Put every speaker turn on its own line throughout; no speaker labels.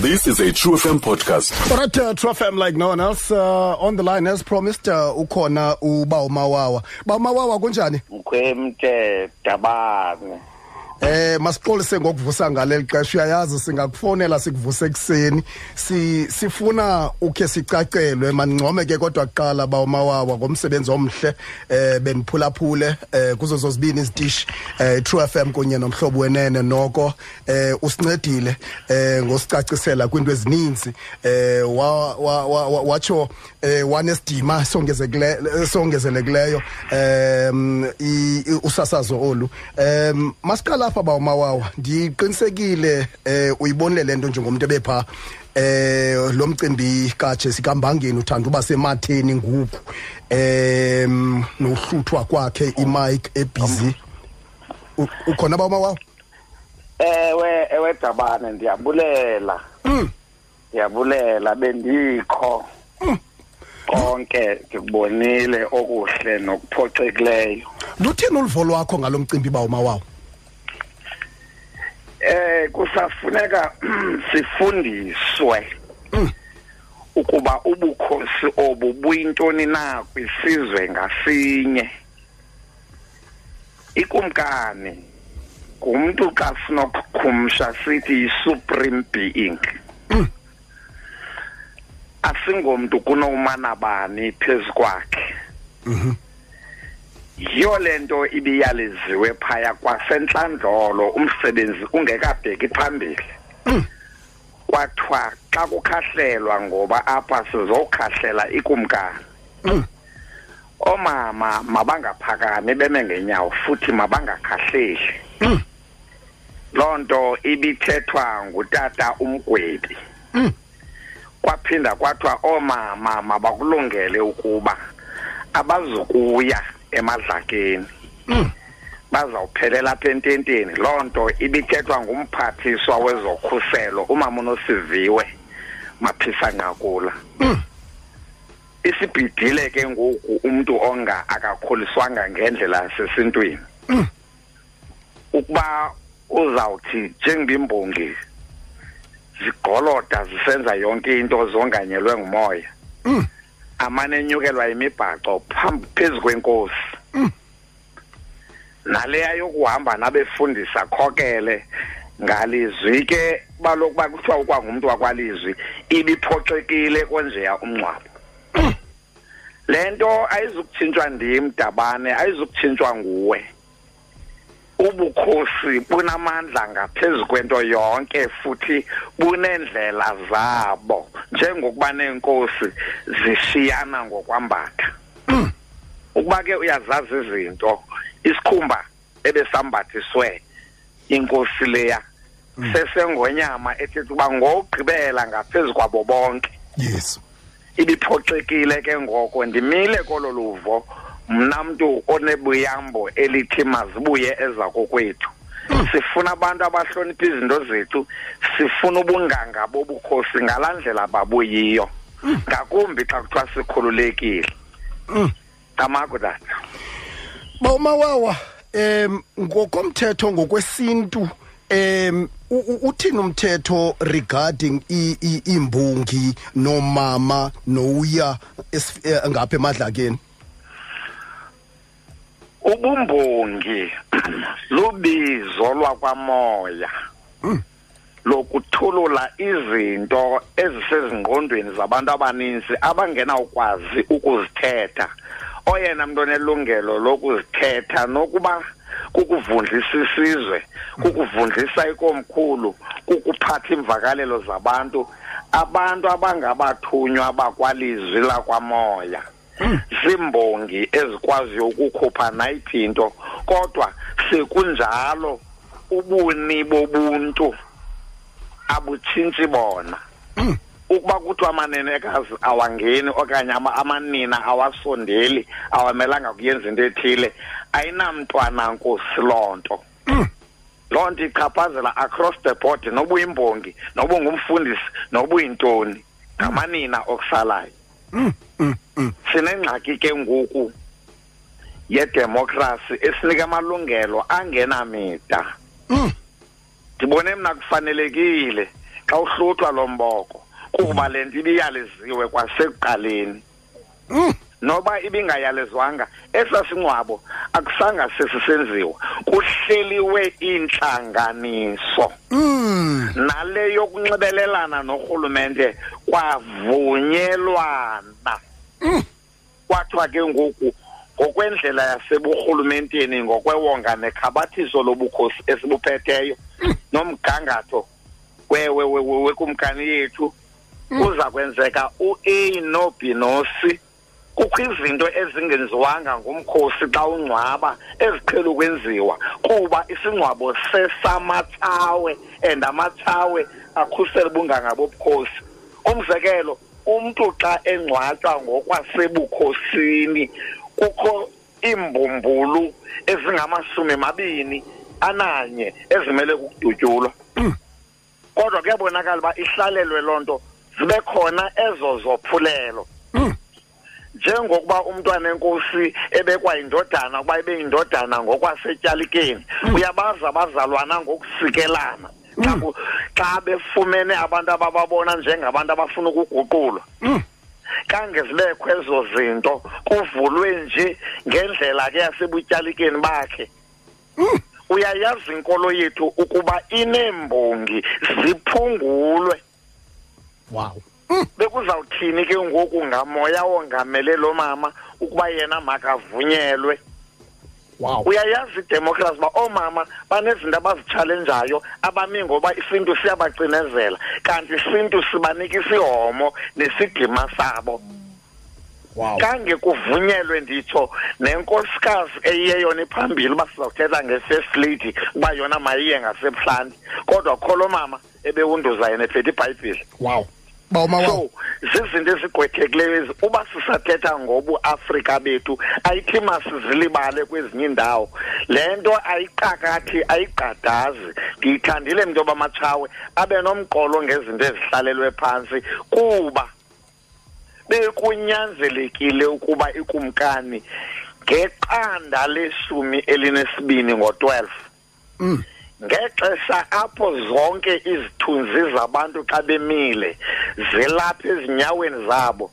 This is a True FM podcast.
All right, uh, True FM, like no one else, uh, on the line as promised, uh, ukhona uba umawawa. Ba umawawa kunjani?
Mkhwemte dabane.
Eh masixolise ngokuvusa ngaleli xesha uyayazi singakufonela sikuvuse ekuseni si sifuna ukhe sicacelwe mangcome ke kodwa kuqala ba umawawa ngomsebenzi omhle eh beniphulaphule eh kuzo zozibini izitishi eh True FM kunye nomhlobo wenene noko eh usincedile eh ngosicacisela kwinto ezininzi eh wa wa- wa- wa- watsho eh wanesidima songezekileyo songezelekeleyo em i- i- usasazo olu em masiqala apha ba umawawa ndiqinisekile eh uyibonile lento njengomuntu ebepha eh lo mcimbi kaJesse Kambangeni uthanda uba sematheni ngoku em nohluthwa kwakhe imike ebusy U- ukhona ba umawawa
Ewe ewe dabane ndiyabulela. Ndiyabulela bendikho. Konke ndikubonile okuhle nokuphoxekileyo.
lutheni uluvo lwakho ngalo mcimbi ba umawawa
Eh kusafuneka sifundiswe ukuba ubukhosi obu buyintoni na kwisizwe ngasinye. Ikumkani kumuntu xa sinokukhumsha sithi yi-supreme being. Asingomntu kunomana bani phezu kwakhe. yiyo le nto ibiyaliziwe phaya kwasentlandlolo umsebenzi ungekabheki phambili kwathiwa xa kukhahlelwa ngoba apha sizokhahlela ikumkani
Mm,
oomama mabangaphakami beme ngenyawo futhi mabangakhahleli
mm,
loo nto ibithethwa ngutata umgwebi kwaphinda kwathiwa oomama mabakulungele ukuba abazokuya emadlakeni bazawuphelela apha ententeni loo nto ibithethwa ngumphathiswa wezokhuselo umama unosiviwe maphisa nqakula isibhidile ke ngoku umntu onga akakhuliswanga ngendlela sesintwini ukuba uzawuthi njengobimbongi zigqoloda zisenza yonke into zonganyelwe ngumoya
mm.
amane enyukelwa imibhaco phambi phezu kwenkosi naleya yokuhamba nabefundisa khokele ngalizwi ke balokuba kuthiwa ukwangumntu wakwalizwi ibiphoxekile kwenjeya umngcwabo le nto ayizukutshintshwa ndim dabane ayizukutshintshwa nguwe ubukhosi bunamandla ngaphezu kwento yonke futhi bunendlela zabo njengokuba neenkosi zishiyana ngokwambatha ukuba ke uyazazi izinto isikhumba ebesambathiswe inkosi leya sesengonyama ethetha uba ngowugqibela ngaphezu kwabo bonke
yes
ibiphoxekile ke ngoko ndimile kolo luvo mna mntu onebuyambo elithi mazibuye eza kokwethu sifuna abantu abahlonipha izinto zethu sifuna ubunganga bobukhosi ngalaa ndlela babuyiyo ngakumbi xa kuthiwa sikhululekile tamaku tata
Bawumawawa em ngokomthetho ngokwesintu em u- u- uthini umthetho regarding i- i- imbungi nomama nouya esif- eh, ngapha emadlakeni
ubumbongi lubizo lwakwamoya lokuthulula izinto ezisezingqondweni zabantu abaninzi abangenawukwazi ukuzithetha oyena mntu onelungelo lokuzithetha nokuba kukuvundlisa isizwe kukuvundlisa ikomkhulu kukuphatha iimvakalelo zabantu abantu abangabathunywa bakwalizwi lakwamoya zimbongi ezikwaziyo ukukhupha nayiphi into kodwa sekunjalo ubuni bobuntu abutshintshi bona ukuba kuthiwa amanenekazi awangeni okanye ama- amanina awasondeli awamelanga kuyenza into ethile ayinamntwana nkosi loo nto loo nto ichaphazela across the board noba uyimbongi noba ungumfundisi noba uyintoni ngamanina okusalayo
Mm,
sinengxaki ke ngoku yedemokhrasi esinika
mm,
amalungelo angenamida ndibone mna kufanelekile xa uhluthwa lo mboko kuba le nto ibiyaliziwe kwasekuqaleni
mm,
noba ibingayalezwanga esa singcwabo akusanga sesisenziwa kuhleliwe intlanganiso
mm.
nale yokunxibelelana norhulumente kwavunyelwana kwathiwa ke ngoku ngokwendlela yaseburhulumenteni ngokwewonga nekhabathiso lobukhosi esibuphetheyo nomgangatho we- we- we- we- wekumkani yethu kuza kwenzeka u-a no b no c kukho izinto ezingenziwanga ngumkhosi xa ungcwaba eziqhele ukwenziwa kuba isingcwabo sesamathawe and amathawe akhusela ubunganga bobukhosi umzekelo umntu xa engcwatywa ngokwasebukhosini kukho iimbumbulu ezingamashumi mabini ananye ezimele ukudutyulwa kodwa kuyabonakala uba ihlalelwe loo nto zibe khona ezo zophulelo njengokuba umntwana enkosi ebekwa indodana ukuba ibe yindodana ngokwasetyalikeni uyabazi abazalwana ngokusikelana Xa ku- xa befumene abantu abababona njengabantu abafuna ukuguqulwa kange zibekho ezo zinto kuvulwe nje ngendlela ke yasebutyalikeni bakhe uyayazi inkolo yethu ukuba ineembongi ziphungulwe
wow
bekuzawuthini ke ngoku ngamoya wongamele lo mama ukuba yena makavunyelwe
wow
uyayazi idemokhrasi uba oomama banezinto abazitshalenjayo abami ngoba isintu siyabacinezela kanti isintu sibanika isihomo nesidima sabo
wow
kange kuvunyelwe nditsho nenkosikazi eyiyeyona iphambili uba sizawuthetha nge-first lady uba yona mayiye ngasebuhlanti kodwa kho lo mama ebewunduza yena ephethe ibhayibhile
wow bawumawa
so zizinto ezigqwethekileyo ezi uba sisathetha ngobuafrika bethu ayithi masizilibale kwezinye iindawo le nto ayiqakathi ayigqadazi ndiyithandile mntu obamatshawe abe nomqolo ngezinto ezihlalelwe phantsi kuba bekunyanzelekile ukuba ikumkani ngeqanda leshumi elinesibini ngo-twelve ngexesha apho zonke izithunzi zabantu xa bemile zilapha ezinyaweni zabo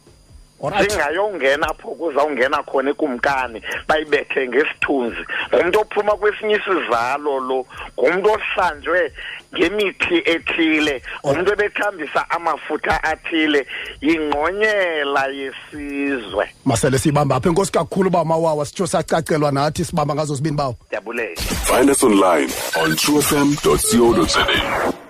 alright
zingayongena pho kuzawungena khona ikumkani bayibethe ngesithunzi ngumntu ophuma kwesinye isizalo lo ngumntu ohlanjwe ngemithi ethile ngumntu ebethambisa amafutha athile yingqonyela yesizwe
masele siyibamba apha enkosi kakhulu bawumawawa sitsho sacacelwa nathi sibamba ngazo zibini bawo
ndiyabulela
Find us online on truefm.co.za.